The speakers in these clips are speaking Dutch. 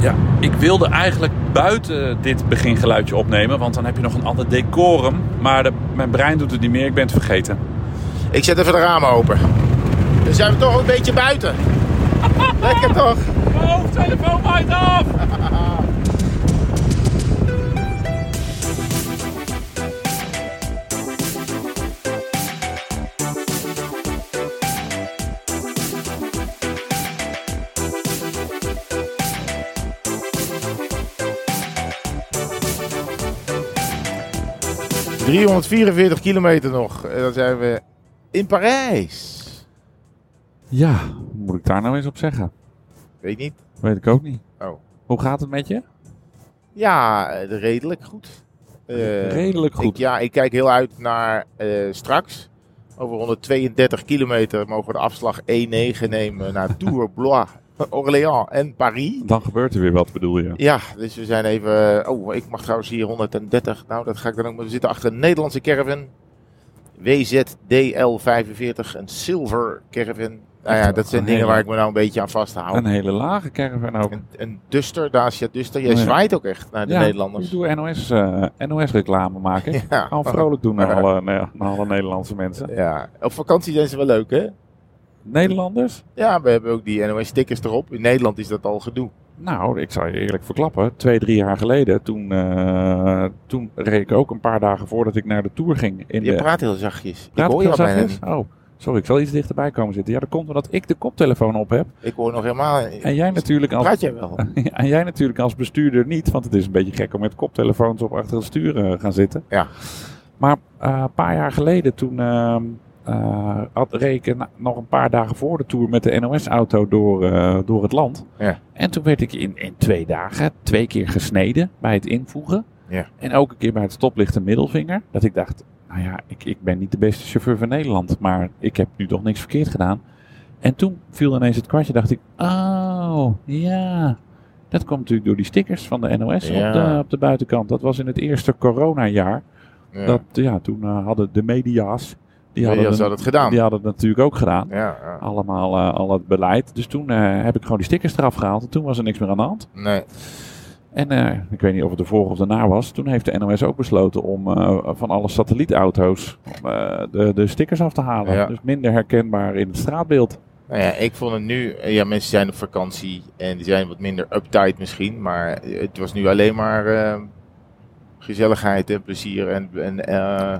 Ja. Ik wilde eigenlijk buiten dit begingeluidje opnemen, want dan heb je nog een ander decorum. Maar de- mijn brein doet het niet meer, ik ben het vergeten. Ik zet even de ramen open. Dan zijn we toch een beetje buiten. Lekker toch? Mijn hoofdtelefoon waait af! Ja. 344 kilometer nog. En dan zijn we in Parijs. Ja, moet ik daar nou eens op zeggen? Weet niet. Weet ik ook niet. Oh. Hoe gaat het met je? Ja, eh, redelijk goed. Eh, Redelijk goed. Ik, ja, ik kijk heel uit naar eh, straks. Over 132 kilometer mogen we de afslag E9 nemen naar Tours, Blois, Orléans en Paris. Dan gebeurt er weer wat, bedoel je? Ja, dus we zijn even. Oh, ik mag trouwens hier 130. Nou, dat ga ik dan ook. maar We zitten achter een Nederlandse caravan. WZDL45, een silver caravan. Nou ja, dat zijn Een dingen hele- waar ik me nou een beetje aan vasthoud. Een Een, hele lage caravan ook. een, duster, Dacia Duster. Jij Oh ja. zwaait ook echt naar de Ik Nederlanders. doe NOS, eh, NOS-reclame maken. Ja. Al vrolijk doen naar alle, naar alle Nederlandse mensen. ja, op vakantie zijn ze wel leuk, hè? Nederlanders? Ja, we hebben ook die NOS-stickers erop. In Nederland is dat al gedoe. Nou, ik zal je eerlijk verklappen. Twee, drie jaar geleden, toen, eh, toen reed ik ook een paar dagen voordat ik naar de Tour ging. In Je de, praat heel zachtjes. Ik Praat hoor ik je heel al bijna zachtjes? niet. Oh, sorry, ik zal iets dichterbij komen zitten. Ja, dat komt omdat ik de koptelefoon op heb. Ik hoor nog helemaal... En jij natuurlijk als, Praat jij wel? en jij natuurlijk als bestuurder niet, want het is een beetje gek om met koptelefoons op achter het stuur eh, gaan zitten. Ja. Maar eh, een paar jaar geleden toen ehm eh, had Reken nog een paar dagen voor de tour met de NOS-auto door, eh, door het land. Ja. En toen werd ik in, in twee dagen twee keer gesneden bij het invoegen. Ja. En ook een keer bij het stoplicht een middelvinger. Dat ik dacht, nou ja, ik, ik ben niet de beste chauffeur van Nederland, maar ik heb nu toch niks verkeerd gedaan. En toen viel ineens het kwartje, dacht ik, oh ja, dat komt natuurlijk door die stickers van de NOS op, Ja. de, op de buitenkant. Dat was in het eerste coronajaar. Ja. Dat, ja, toen eh, hadden de media's, die hadden, Media's een- hadden het gedaan. die hadden het natuurlijk ook gedaan. Ja, ja. Allemaal eh, al het beleid. Dus toen eh, heb ik gewoon die stickers eraf gehaald. En toen was er niks meer aan de hand. Nee. En eh, ik weet niet of het de vorige of daarna was. Toen heeft de NOS ook besloten om eh, van alle satellietauto's eh, de, de stickers af te halen. Ja. Dus minder herkenbaar in het straatbeeld. Nou ja, ik vond het nu... eh, Ja, mensen zijn op vakantie en die zijn wat minder uptight misschien. Maar eh, het was nu alleen maar eh, gezelligheid en plezier en... en eh,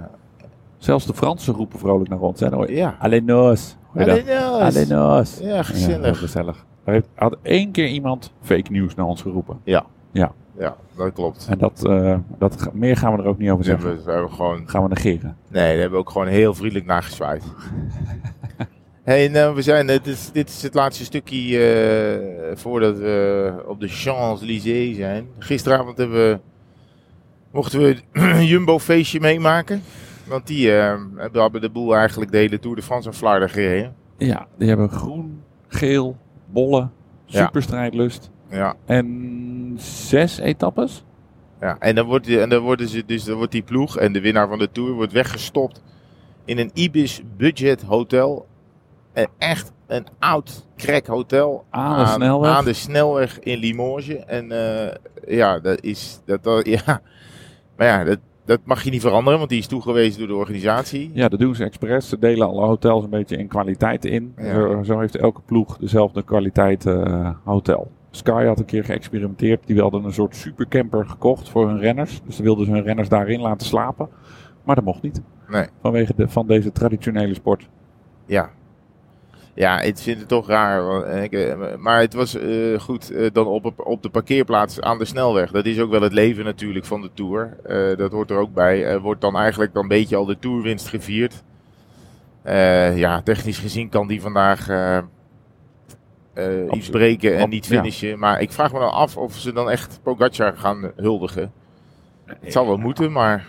Zelfs de Fransen roepen vrolijk naar ons. hè. Dan hoor je, ja. Alleen nos. Hoor je dat? Alleen alles. Alleen nos. Ja, Ja, heel gezellig. gezellig. Er heeft- had één keer iemand fake news naar ons geroepen. Ja, dat klopt. En dat, eh, dat, ga- meer gaan we er ook niet over Dus hebben zeggen. we, we hebben gewoon... gaan we negeren. Nee, daar hebben we ook gewoon heel vriendelijk naar gezwaaid. hey, nou, we zijn, dit, is, dit is het laatste stukje eh, voordat we op de Champs-Élysées zijn. Gisteravond hebben we, mochten we een Jumbo-feestje meemaken. Want die eh, hebben- hebben de boel eigenlijk de hele Tour de France en Vlaarder gereden. Ja, die hebben groen, geel, bolle, Ja. superstrijdlust. Ja, En zes etappes? ja. En, dan wordt, die- en dan, worden ze, dus dan wordt die ploeg en de winnaar van de Tour wordt weggestopt in een Ibis Budget Hotel. Eh, Echt een oud, krek hotel Aan de snelweg. aan de snelweg in Limoges. En eh, ja, dat is. Dat, dat- ja. Maar ja, dat, dat mag je niet veranderen, want die is toegewezen door de organisatie. Ja, dat doen ze expres. Ze delen alle hotels een beetje in kwaliteit in. Ja. Zo, zo heeft elke ploeg dezelfde kwaliteit eh, hotel. Sky had een keer geëxperimenteerd. Die hadden een soort supercamper gekocht voor hun renners. Dus ze wilden ze hun renners daarin laten slapen. Maar dat mocht niet. Nee. Vanwege de, van deze traditionele sport. Ja. Ja, ik vind het toch raar. want, eh, ik, eh, Maar het was eh, goed eh, dan op, op- op de parkeerplaats aan de snelweg. Dat is ook wel het leven natuurlijk van de Tour. Eh, dat hoort er ook bij. Eh, wordt dan eigenlijk dan een beetje al de Tourwinst gevierd. Eh, ja, technisch gezien kan die vandaag eh, eh, iets Absoluut. breken en Ab- niet ja. finishen. Maar ik vraag me dan af of ze dan echt Pogacar gaan huldigen. Het zal wel moeten, maar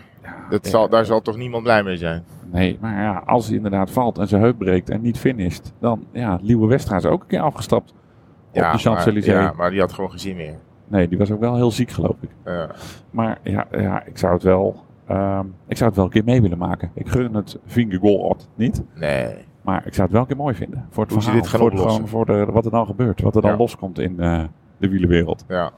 dat zal, daar zal toch niemand blij mee zijn. Nee, maar ja, als hij inderdaad valt en zijn heup breekt en niet finisht. Dan, ja, Liewe Westra is ook een keer afgestapt. op de maar, Champs-Élysées. ja, maar die had gewoon geen zin meer. Eh, Nee, die was ook wel heel ziek geloof ik. Ja. Maar ja, ja ik zou het wel. ehm, ik zou het wel een keer mee willen maken. Ik gun het Vingegaard niet. Nee. Maar ik zou het wel een keer mooi vinden. Voor het Hoe ze verhaal, dit gaan voor, het oplossen. gewoon voor de, nou wat er dan gebeurt. Wat er dan Ja. loskomt in eh, de wielenwereld. Ja.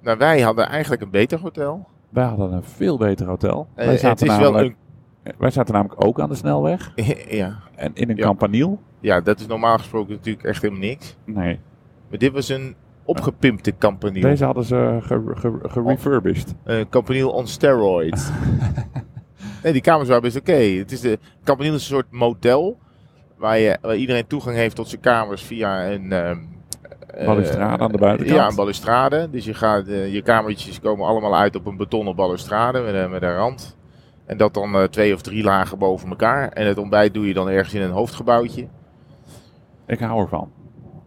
Nou, wij hadden eigenlijk een beter hotel. Wij hadden een veel beter hotel. Eh, wij, het zaten is wel namelijk, een... wij zaten namelijk ook aan de snelweg. ja. En in een Ja. campaniel. ja, dat is normaal gesproken natuurlijk echt helemaal niks. Nee, Maar dit was een opgepimpte campaniel. deze hadden ze ge- ge- Oh. gerefurbished. eh Campaniel on steroids. nee, die kamers waren best oké. Het is de Campaniel is een soort motel waar, je, waar iedereen toegang heeft tot zijn kamers via een ehm, eh, Balustrade aan de buitenkant. Ja, een balustrade. Dus je gaat eh, je kamertjes komen allemaal uit op een betonnen balustrade met, een- met een rand. En dat dan eh, twee of drie lagen boven elkaar. En het ontbijt doe je dan ergens in een hoofdgebouwtje. Ik hou ervan.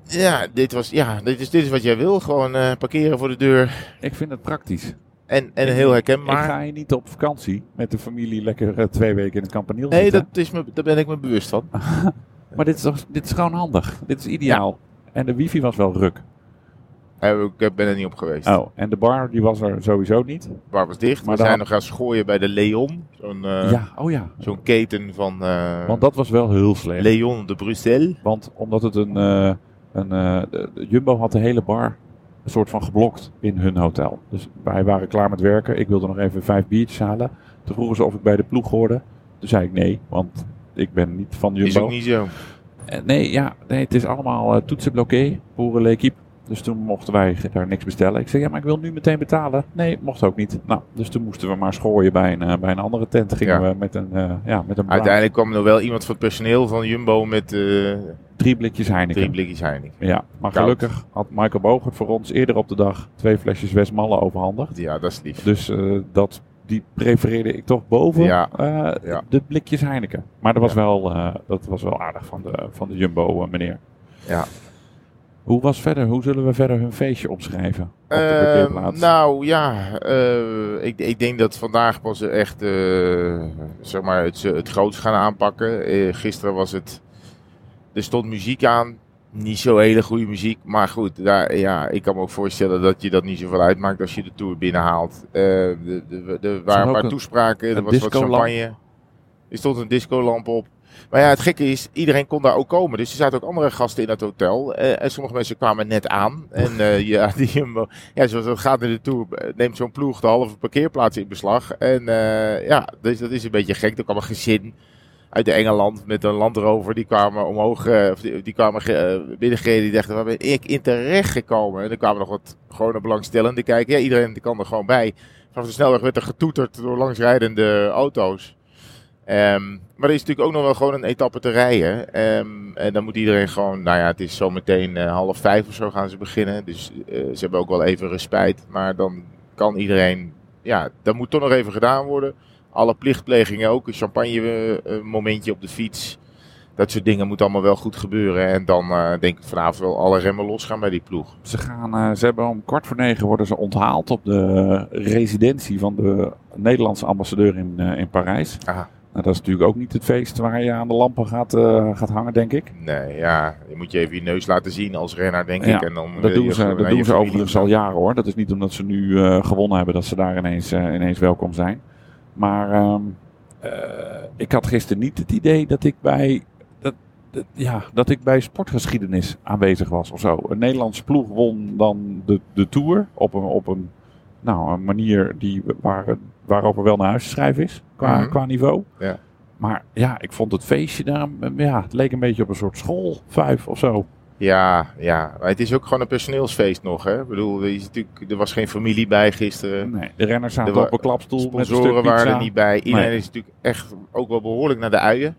Ja, dit, was, ja, dit, is, dit is wat jij wil. Gewoon eh, parkeren voor de deur. Ik vind het praktisch. En, en heel Ik herkenbaar. ga hier niet op vakantie met de familie lekker eh, twee weken in een campaniel Nee, zitten. dat is me, daar ben ik me bewust van. Maar dit is, toch- dit is gewoon handig. Dit is ideaal. En de wifi was wel ruk. Eh, Ik ben er niet op geweest. Oh, en de bar die was er sowieso niet. Bar was dicht. Maar we dan- zijn nog gaan schooien bij de Leon. Zo'n eh, ja, oh ja. zo'n keten van eh, Want dat was wel heel slecht. Leon de Bruxelles. Want omdat het een. eh, een eh, de- de Jumbo had de hele bar een soort van geblokt in hun hotel. Dus wij waren klaar met werken. Ik wilde nog even vijf biertjes halen. Toen vroegen ze of ik bij de ploeg hoorde. Toen zei ik nee, want ik ben niet van Jumbo. Is ook niet zo. Eh, nee, ja, nee, het is allemaal eh, toetsenblokkee voor l'équipe. Dus toen mochten wij ge- daar niks bestellen. Ik zei, ja, maar ik wil nu meteen betalen. Nee, mocht ook niet. Nou, dus toen moesten we maar schooien bij een, eh, bij een andere tent. Toen Gingen Ja. we met een, eh, ja, met een baan, Uiteindelijk kwam er wel iemand van het personeel van Jumbo met eh, drie blikjes Heineken. drie blikjes Heineken. Ja, maar Koud. gelukkig had Michael Bogert voor ons eerder op de dag twee flesjes Westmalle overhandigd. Ja, dat is lief. Dus eh, dat, die prefereerde ik toch boven Ja. eh, Ja. de blikjes Heineken. Maar dat was, Ja. wel, eh, dat was wel aardig van de, van de Jumbo eh, meneer. Ja. Hoe was verder? Hoe zullen we verder hun feestje opschrijven op de Eh, parkeerplaats? nou ja, eh, ik, ik denk dat vandaag pas echt eh, zeg maar het, het groots gaan aanpakken. Eh, gisteren was het. Er stond muziek aan. Niet zo hele goede muziek. Maar goed, daar, ja, ik kan me ook voorstellen dat je dat niet zoveel uitmaakt als je de tour binnenhaalt. Eh, de- de- de- er waren ook een paar een- toespraken, er een was wat discolamp. champagne. Er stond een discolamp op. Maar ja, het gekke is, iedereen kon daar ook komen. Dus er zaten ook andere gasten in het hotel. Eh, en sommige mensen kwamen net aan. En eh, ja, die, ja, zoals dat gaat in de Tour, eh, neemt zo'n ploeg de halve parkeerplaats in beslag. En eh, ja, dus dat is een beetje gek. Er kwam een gezin uit Engeland met een Land Rover. Die kwamen omhoog, eh, of die, die kwamen ge- eh, binnengereden. Die dachten, waar ben ik in terecht gekomen? En er kwamen nog wat gewone belangstellenden kijken. Ja, iedereen kan er gewoon bij. Vanaf de snelweg werd er getoeterd door langsrijdende auto's. Ehm, maar er is natuurlijk ook nog wel gewoon een etappe te rijden. Ehm, en dan moet iedereen gewoon, nou ja, het is zometeen eh, half vijf of zo gaan ze beginnen. Dus eh, ze hebben ook wel even respijt. Maar dan kan iedereen, ja, dat moet toch nog even gedaan worden. Alle plichtplegingen ook, een champagne eh, eh, momentje op de fiets. Dat soort dingen moet allemaal wel goed gebeuren. En dan eh, denk ik vanavond wel alle remmen losgaan bij die ploeg. Ze, gaan, eh, ze hebben om kwart voor negen worden ze onthaald op de eh, residentie van de Nederlandse ambassadeur in, eh, in Parijs. Aha. Nou, dat is natuurlijk ook niet het feest waar je aan de lampen gaat, eh, gaat hangen, denk ik. Nee, ja, je moet je even je neus laten zien als renner, denk Ja, ik. En dan wil Dat je doen ze, gewoon dat naar je doen ze familie. overigens al jaren hoor. Dat is niet omdat ze nu eh, gewonnen hebben dat ze daar ineens, eh, ineens welkom zijn. Maar ehm, eh, ik had gisteren niet het idee dat ik bij. Dat, dat- ja, dat ik bij sportgeschiedenis aanwezig was of zo. Een Nederlandse ploeg won dan de, de Tour op een, op een, nou, een manier die, waar, waarover wel naar huis te schrijven is qua, Mhm. qua niveau. Ja. Maar ja, ik vond het feestje daar, eh, ja, het leek een beetje op een soort schoolvuif of zo. Ja, ja. Maar het is ook gewoon een personeelsfeest nog. Hè? Ik bedoel, er, is natuurlijk, er was geen familie bij gisteren. Nee, de renners zaten Er wa- op een klapstoel met een stuk Sponsoren pizza. waren er niet bij. Iedereen Nee. is natuurlijk echt ook wel behoorlijk naar de uien.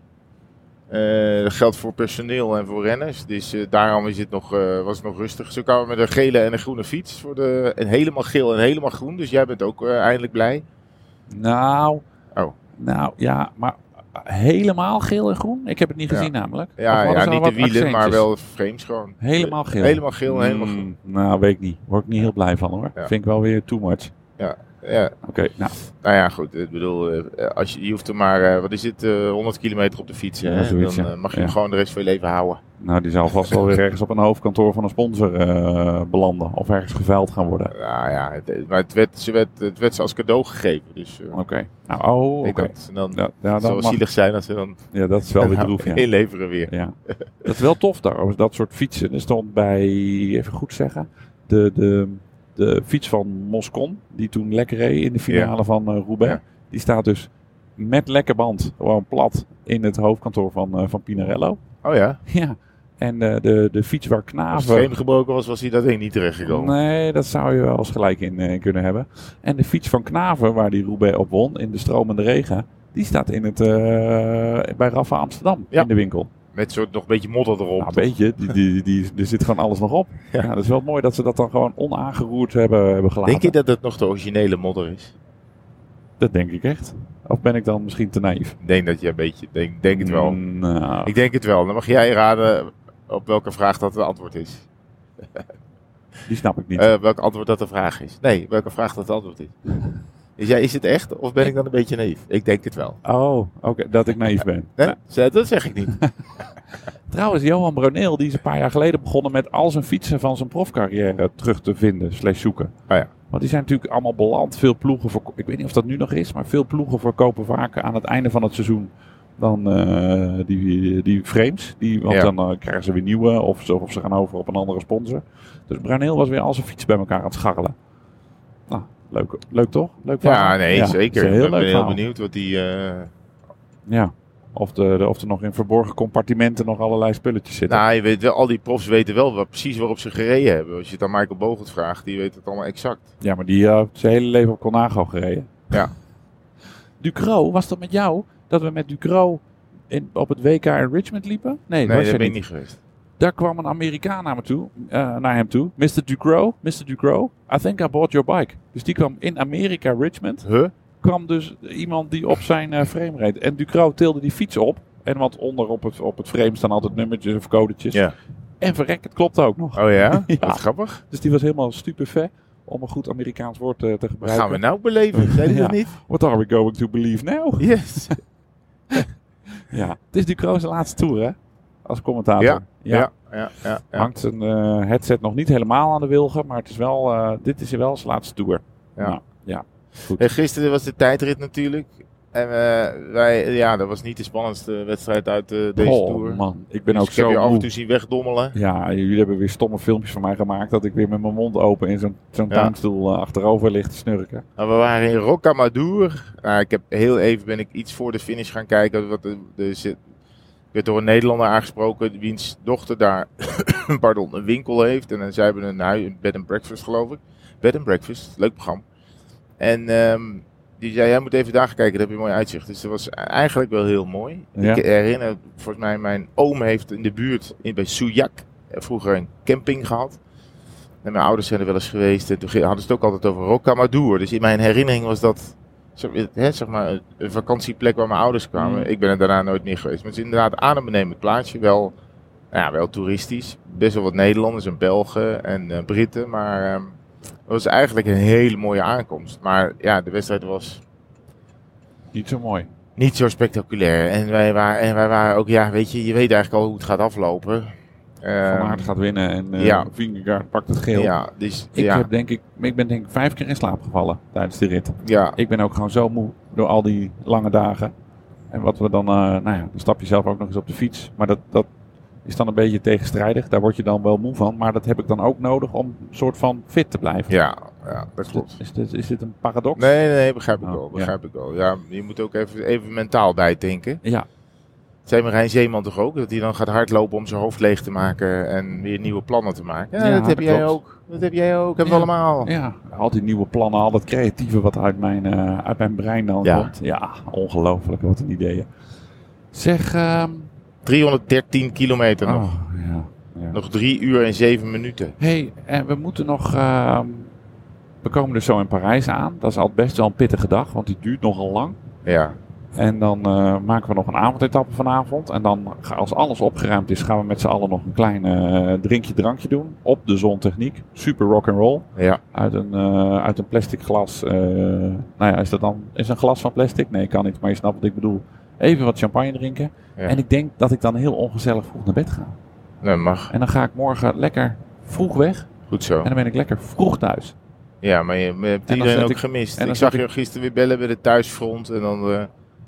Eh, dat geldt voor personeel en voor renners. Dus eh, daarom is het nog, eh, was het nog rustig. Ze kwamen met een gele en een groene fiets. Voor de, en helemaal geel en helemaal groen. Dus jij bent ook eh, eindelijk blij. Nou, Oh. nou ja, maar helemaal geel en groen? Ik heb het niet Ja. gezien namelijk. Of Ja, hadden ja ze al niet de wat wielen, maar accentjes? wel frames gewoon. Helemaal geel. Helemaal geel en helemaal Mm, groen. nou, weet ik niet. Word ik niet heel blij van hoor. Ja. Vind ik wel weer too much. Ja, ja. Oké, nou, Nou ja, goed. Ik bedoel, eh, als je, je hoeft er maar, eh, wat is het, eh, 100 kilometer op de fiets. Ja, hè? zoiets, dan ja. eh, mag je Ja. hem gewoon de rest van je leven houden. nou, die zal vast wel weer ergens op een hoofdkantoor van een sponsor eh, belanden. Of ergens gevuild gaan worden. Nou ja, het, maar het werd, ze werd, het werd ze als cadeau gegeven. Dus eh, Oké. Nou, oh, oké. ik denk dat ze dan, Ja, ja, het zou dat, wel mag, zielig zijn als ze dan ja, dat is wel weer droef, ja. inleveren weer. ja. Dat is wel tof daar, dat soort fietsen. Er stond bij, even goed zeggen, de, de, de fiets van Moscon, die toen lekker reed in de finale van eh, Roubaix. Ja. Die staat dus met lekker band, gewoon plat, in het hoofdkantoor van, eh, van Pinarello. Oh ja, Ja, en eh, de, de fiets waar als Knaven... het frame gebroken was, was hij dat ding niet terechtgekomen. Nee, dat zou je wel eens gelijk in eh, kunnen hebben. En de fiets van Knaven, waar die Roubaix op won, in de stromende regen, die staat in het, eh, bij Rafa Amsterdam Ja. in de winkel. Met soort nog een beetje modder erop. Nou, weet je, die, die, die, er zit gewoon alles nog op. Ja. Ja. dat is wel mooi dat ze dat dan gewoon onaangeroerd hebben, hebben gelaten. Denk je dat het nog de originele modder is? Dat denk ik echt. Of ben ik dan misschien te naïef? Ik denk dat je een beetje, denk, denk het wel. Nou, Ik denk het wel. Dan mag jij raden op welke vraag dat het antwoord is. die snap ik niet. Eh, welk antwoord dat de vraag is. Nee, welke vraag dat het antwoord is. Is, jij, is het echt of ben ik dan een beetje naïef? Ik denk het wel. oh, oké, dat ik naïef ben. Nee? Zeg- Dat zeg ik niet. Trouwens, Johan Bruneel, die is een paar jaar geleden begonnen met al zijn fietsen van zijn profcarrière terug te vinden, slash zoeken. Ah ja. Want die zijn natuurlijk allemaal beland. Veel ploegen, voor, ik weet niet of dat nu nog is, maar veel ploegen verkopen vaak aan het einde van het seizoen dan eh, die, die frames. Die, want Ja. dan eh, krijgen ze weer nieuwe of ze, of ze gaan over op een andere sponsor. Dus Bruneel was weer al zijn fiets bij elkaar aan het scharrelen. Nou, leuk, leuk toch? Leuk Ja, verhaal. nee, Ja, zeker. het is een ik ben heel verhaal. benieuwd wat die... eh, Ja. Of, de, de- of er nog in verborgen compartimenten nog allerlei spulletjes zitten. Nou, je weet wel, al die profs weten wel wat, precies waarop ze gereden hebben. Als je het aan Michael Bogert vraagt, die weet het allemaal exact. Ja, maar die eh, heeft zijn hele leven op Colnago gereden. Ja. Ducro, was dat met jou dat we met Ducro in, op het WK in Richmond liepen? Nee, Nee, was daar je ben ik niet. niet geweest. Daar kwam een Amerikaan naar, me toe, eh, naar hem toe. Mr. Ducro, Mr. Ducro, I think I bought your bike. Dus die kwam in Amerika, Richmond, Huh? kwam dus iemand die op zijn eh, frame reed. En Ducro tilde die fiets op. En want onder op het, op het frame staan altijd nummertjes of codetjes. Ja. En verrek, het klopte ook nog. Oh ja? Ja. Wat grappig. Dus die was helemaal stupefait om een goed Amerikaans woord eh, te Wat gebruiken. gaan we nou beleven? Zijn die Ja. dat niet? What are we going to believe now? Yes. Ja. Het is Ducro's laatste tour, hè? Als commentator. Ja, Ja, ja, ja. ja. Hangt een eh, headset nog niet helemaal aan de wilgen, maar het is wel, eh, dit is wel zijn laatste tour. Ja. Nou, ja. Goed. Hey, gisteren was de tijdrit natuurlijk. En eh, wij, ja, dat was niet de spannendste wedstrijd uit eh, deze oh, tour. man. Ik ben Dus ook ik heb zo je af en moe. toe zien wegdommelen. Ja, jullie hebben weer stomme filmpjes van mij gemaakt dat ik weer met mijn mond open in zo'n zo'n Ja. tuinstoel eh, achterover ligt te snurken. Maar Nou, we waren in Rocamadour. Nou, ik heb heel even ben ik iets voor de finish gaan kijken. Wat de, de, zit- ik werd door een Nederlander aangesproken, wiens dochter daar pardon, een winkel heeft. En eh, zij hebben een, hui- een bed and breakfast, geloof ik. Bed and breakfast, leuk programma. En ehm, die zei, jij moet even daar gaan kijken, dan heb je een mooi uitzicht. Dus dat was eigenlijk wel heel mooi. Ja. Ik herinner, volgens mij, mijn oom heeft in de buurt in, bij Soujak eh, vroeger een camping gehad. En mijn ouders zijn er wel eens geweest. En toen ge- hadden ze het ook altijd over Rocamadour. Dus in mijn herinnering was dat zeg, hè, zeg maar, een- een vakantieplek waar mijn ouders kwamen. Mm. Ik ben er daarna nooit meer geweest. Maar het is inderdaad een adembenemend plaatsje. Wel, nou ja, wel toeristisch. Best wel wat Nederlanders en Belgen en eh, Britten. Maar ehm, het was eigenlijk een hele mooie aankomst. Maar ja, de wedstrijd was Niet zo mooi. niet zo spectaculair. En wij waren, en wij waren ook, ja, weet je, je weet eigenlijk al hoe het gaat aflopen. Van Ehm, Aert gaat winnen en eh ja. Vingegaard pakt het geel. Ja, dus Ik, ja, heb, denk ik, ik ben denk ik vijf keer in slaap gevallen tijdens die rit. ja, Ik ben ook gewoon zo moe door al die lange dagen. En wat we dan, eh, nou ja, dan stap je zelf ook nog eens op de fiets. Maar dat, dat is dan een beetje tegenstrijdig. Daar word je dan wel moe van. Maar dat heb ik dan ook nodig om een soort van fit te blijven. ja, ja, dat Is klopt. dit, is, dit, is dit een paradox? Nee, nee, begrijp ik Oh, wel. ja. Begrijp ik wel. Ja, je moet ook even, even mentaal bijdenken. Ja, Zei Marijn Zeeman toch ook? Dat hij dan gaat hardlopen om zijn hoofd leeg te maken en weer nieuwe plannen te maken. Ja, Ja, dat heb dat jij klopt. ook. Dat heb jij ook. Hebben Ja. we allemaal. ja, al die nieuwe plannen, al dat creatieve wat uit mijn, eh, uit mijn brein dan Ja. komt. Ja, ongelooflijk, wat een ideeën. Zeg, ehm, 313 kilometer nog. oh, ja, ja. Nog drie uur en zeven minuten. Hé, hey, eh, we moeten nog. ehm, we komen dus zo in Parijs aan. Dat is al best wel een pittige dag, want die duurt nogal lang. Ja. En dan eh, maken we nog een avondetappe vanavond. En dan, ga- als alles opgeruimd is, gaan we met z'n allen nog een klein eh, drinkje, drankje doen. Op de zontechniek. Super rock and roll. Ja. Uit een, eh, uit een plastic glas. eh, nou ja, is dat dan is een glas van plastic? Nee, kan niet. Maar je snapt wat ik bedoel. Even wat champagne drinken. Ja. En ik denk dat ik dan heel ongezellig vroeg naar bed ga. Dat mag. En dan ga ik morgen lekker vroeg weg. Goed zo. En dan ben ik lekker vroeg thuis. Ja, maar je, maar je hebt dan iedereen zet ook ik- gemist. en dan Ik zag zet je gisteren weer bellen bij de thuisfront en dan eh,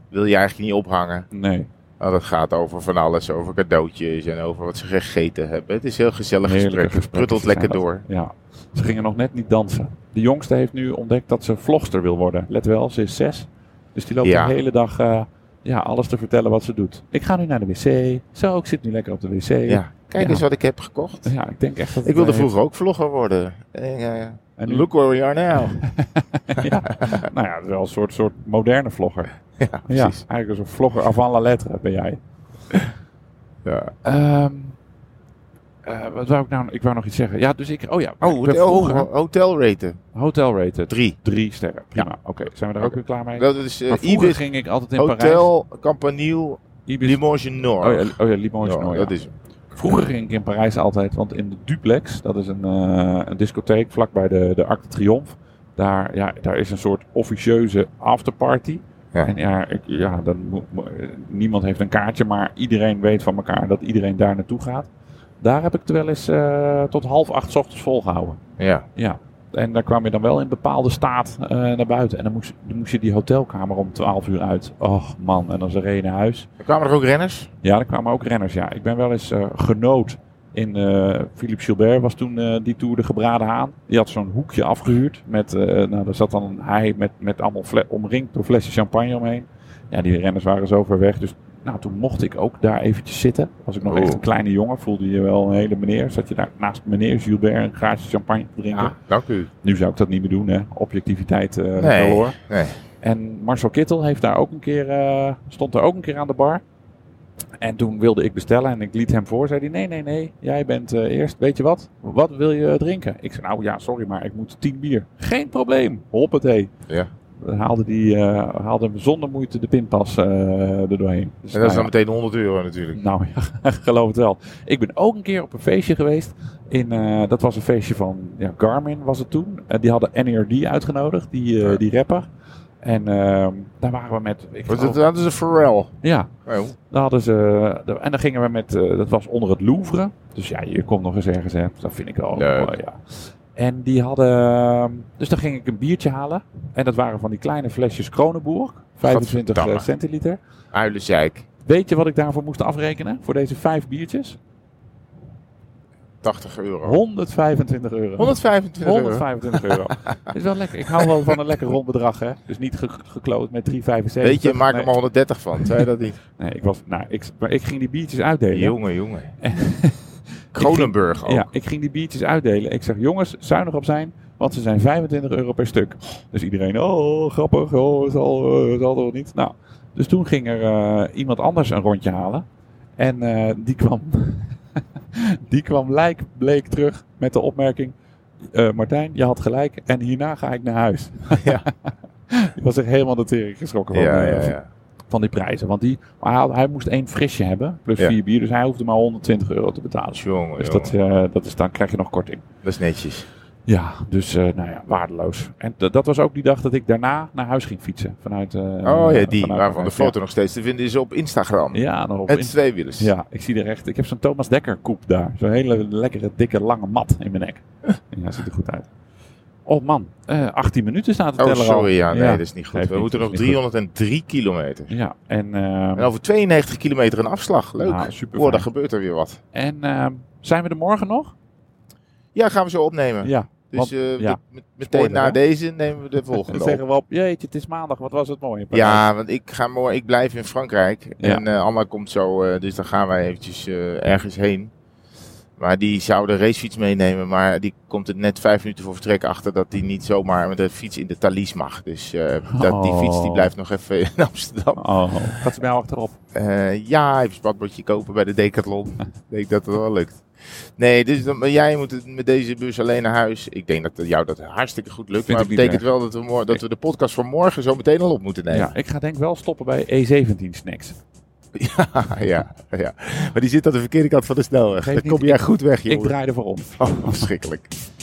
wil je eigenlijk niet ophangen. Nee, Nou, dat gaat over van alles, over cadeautjes en over wat ze gegeten hebben. Het is een heel gezellig Heerlijke gesprek. Het gesprekken pruttelt lekker zijn dat. door. ja. Ze gingen nog net niet dansen. De jongste heeft nu ontdekt dat ze vlogster wil worden. Let wel, ze is zes. Dus die loopt Ja. de hele dag eh, ja, alles te vertellen wat ze doet. Ik ga nu naar de wc. Zo, ik zit nu lekker op de wc. Ja. Kijk Ja. eens wat ik heb gekocht. Ja, ik denk echt dat Ik wilde vroeg. vroeger ook vlogger worden. En, eh, En nu, look where we are now. ja. Nou ja, het is wel een soort, soort moderne vlogger. ja, Ja, precies. eigenlijk een soort vlogger avant la lettre ben jij. Ja. Ehm, eh, wat wou ik nou? Ik wou nog iets zeggen. Ja, dus ik. Oh ja. Oh, ik ben hotel, vroeger- oh, hotel raten. Hotel rated. Drie. Drie sterren. Prima. Oké, zijn we daar ook weer klaar mee? Dat is eh, maar vroeger Ibis ging ik altijd in Parijs. Hotel Campanile Ibis. Limoges Noord. oh ja, oh ja Limoges Ja, Noord, ja. Dat is Vroeger ging ik in Parijs altijd, want in de Duplex, dat is een, eh, een discotheek vlakbij de, de Arc de Triomphe. Daar, ja, daar is een soort officieuze afterparty. Ja. En ja, ik, ja dan moet- mo- eh, niemand heeft een kaartje, maar iedereen weet van elkaar dat iedereen daar naartoe gaat. Daar heb ik het wel eens eh, tot half acht 's ochtends volgehouden. Ja, En daar kwam je dan wel in bepaalde staat eh, naar buiten. En dan moest, dan moest je die hotelkamer om 12 uur uit. Och man, en dan ze reden naar huis. er kwamen er ook renners. Ja, er kwamen ook renners. Ja, ik ben wel eens eh, genoot in eh Philippe Gilbert was toen eh, die tour de gebraden haan. Die had zo'n hoekje afgehuurd. Met, eh, nou, daar zat dan een haai met, met allemaal fle- omringd door flessen champagne omheen. Ja, die renners waren zo ver weg. Dus nou, toen mocht ik ook daar eventjes zitten. Was ik nog Oeh. echt een kleine jongen. Voelde je wel een hele meneer. Zat je daar naast meneer Gilbert een glaasje champagne te drinken. Ja, Ah, dank u. Nu zou ik dat niet meer doen, hè? Objectiviteit eh Nee, wel, hoor. nee. En Marcel Kittel heeft daar ook een keer, eh, stond daar ook een keer aan de bar. En toen wilde ik bestellen en ik liet hem voor. Zei hij, nee, nee, nee, jij bent eh, eerst. Weet je wat? Wat wil je drinken? Ik zei, nou ja, sorry, maar ik moet tien bier. Geen probleem. Hoppatee. Ja. Dan haalde, die, eh, haalde hem zonder moeite de pinpas eh er doorheen. Dus, En dat nou is dan ja. meteen 100 euro natuurlijk. Nou ja, geloof het wel. Ik ben ook een keer op een feestje geweest. In, eh, dat was een feestje van ja, Garmin was het toen. Eh, die hadden NERD uitgenodigd, die, eh, Ja. die rapper. En ehm, daar waren we met... Ik Want geloof- dat, dat is een Pharrell. ja, Oh. daar hadden ze... de- en dan gingen we met... eh, dat was onder het Louvre. Dus ja, je komt nog eens ergens hè. Dat vind ik al Leuk. mooi, ja. En die hadden... Dus dan ging ik een biertje halen. En dat waren van die kleine flesjes Kronenbourg. 25 Gadverdamme. centiliter. Uilenzeik. Weet je wat ik daarvoor moest afrekenen? Voor deze vijf biertjes? 80 euro. 125 euro. 125 euro. 125 euro. Dat is wel lekker. Ik hou wel van een lekker rond bedrag, hè? Dus niet ge- gekloot met 3,75. Weet je, maak er nee. maar 130 van. Zei je dat niet? Nee, ik, was, nou, ik, maar ik ging die biertjes uitdelen. Jongen, jongen. Kronenburg ook. Ja, ik ging die biertjes uitdelen. Ik zeg, jongens, zuinig op zijn, want ze zijn 25 euro per stuk. Dus iedereen, oh, grappig, oh, het zal, eh, het zal toch niet. Nou, dus toen ging er eh, iemand anders een rondje halen. En eh, die kwam, die kwam lijkbleek terug met de opmerking, eh, Martijn, je had gelijk en hierna ga ik naar huis. Ja. Die was echt helemaal de tering geschrokken van, Ja, eh, ja, ja. van die prijzen. Want die, maar hij, hij moest één frisje hebben, plus Ja. vier bier, dus hij hoefde maar 120 euro te betalen. Jongen, Dus jongen. dat, eh, dat is, dan krijg je nog korting. Dat is netjes. Ja, dus eh, nou ja, waardeloos. En d- dat was ook die dag dat ik daarna naar huis ging fietsen. Vanuit, eh, Oh ja, vanuit die. Waarvan de Parijs. foto nog steeds te vinden is op Instagram. Ja, ja nog op Met in- tweewielers. Oh, Ja, ik zie er echt. Ik heb zo'n Thomas Dekker koep daar. Zo'n hele lekkere, dikke, lange mat in mijn nek. Ja, ziet er goed uit. Oh man, eh, 18 minuten staat de Oh, teller al. sorry. Ja, nee, dat is niet goed. Geeft We niet, moeten dat nog is niet 303 kilometer. Ja, en, ehm, En over 92 kilometer een afslag. Leuk. Ja, super Hoor, dan Nou, fijn. gebeurt er weer wat. en ehm, zijn we er morgen nog? Ja, gaan we zo opnemen. Ja. Dus want- eh, ja. met- met- meteen Spoiler, na hè? deze nemen we de Dan volgende op. zeggen we op, jeetje, het is maandag, wat was het mooi. in Parijs. Ja, want ik, ga morgen, ik blijf in Frankrijk. Ja. En eh, Anna komt zo, eh, dus dan gaan wij eventjes eh, ergens heen. Maar die zou de racefiets meenemen, maar die komt er net vijf minuten voor vertrek achter dat hij niet zomaar met de fiets in de Thalys mag. Dus eh, dat, die fiets die Oh. blijft nog even in Amsterdam. Oh, gaat ze bij jou achterop. Eh, ja, even een spatbordje kopen bij de Decathlon. ik denk dat het wel lukt. Nee, dus dan, maar jij moet het met deze bus alleen naar huis. Ik denk dat jou dat hartstikke goed lukt. Vind maar ik niet dat betekent wel dat we, mor- dat we de podcast van morgen zo meteen al op moeten nemen. Ja, ik ga denk wel stoppen bij E17 snacks. Ja, ja, ja. Maar die zit aan de verkeerde kant van de snelweg. Geeft Dan niet, kom jij goed weg, Ik jongen. draai ervoor om. Oh, verschrikkelijk.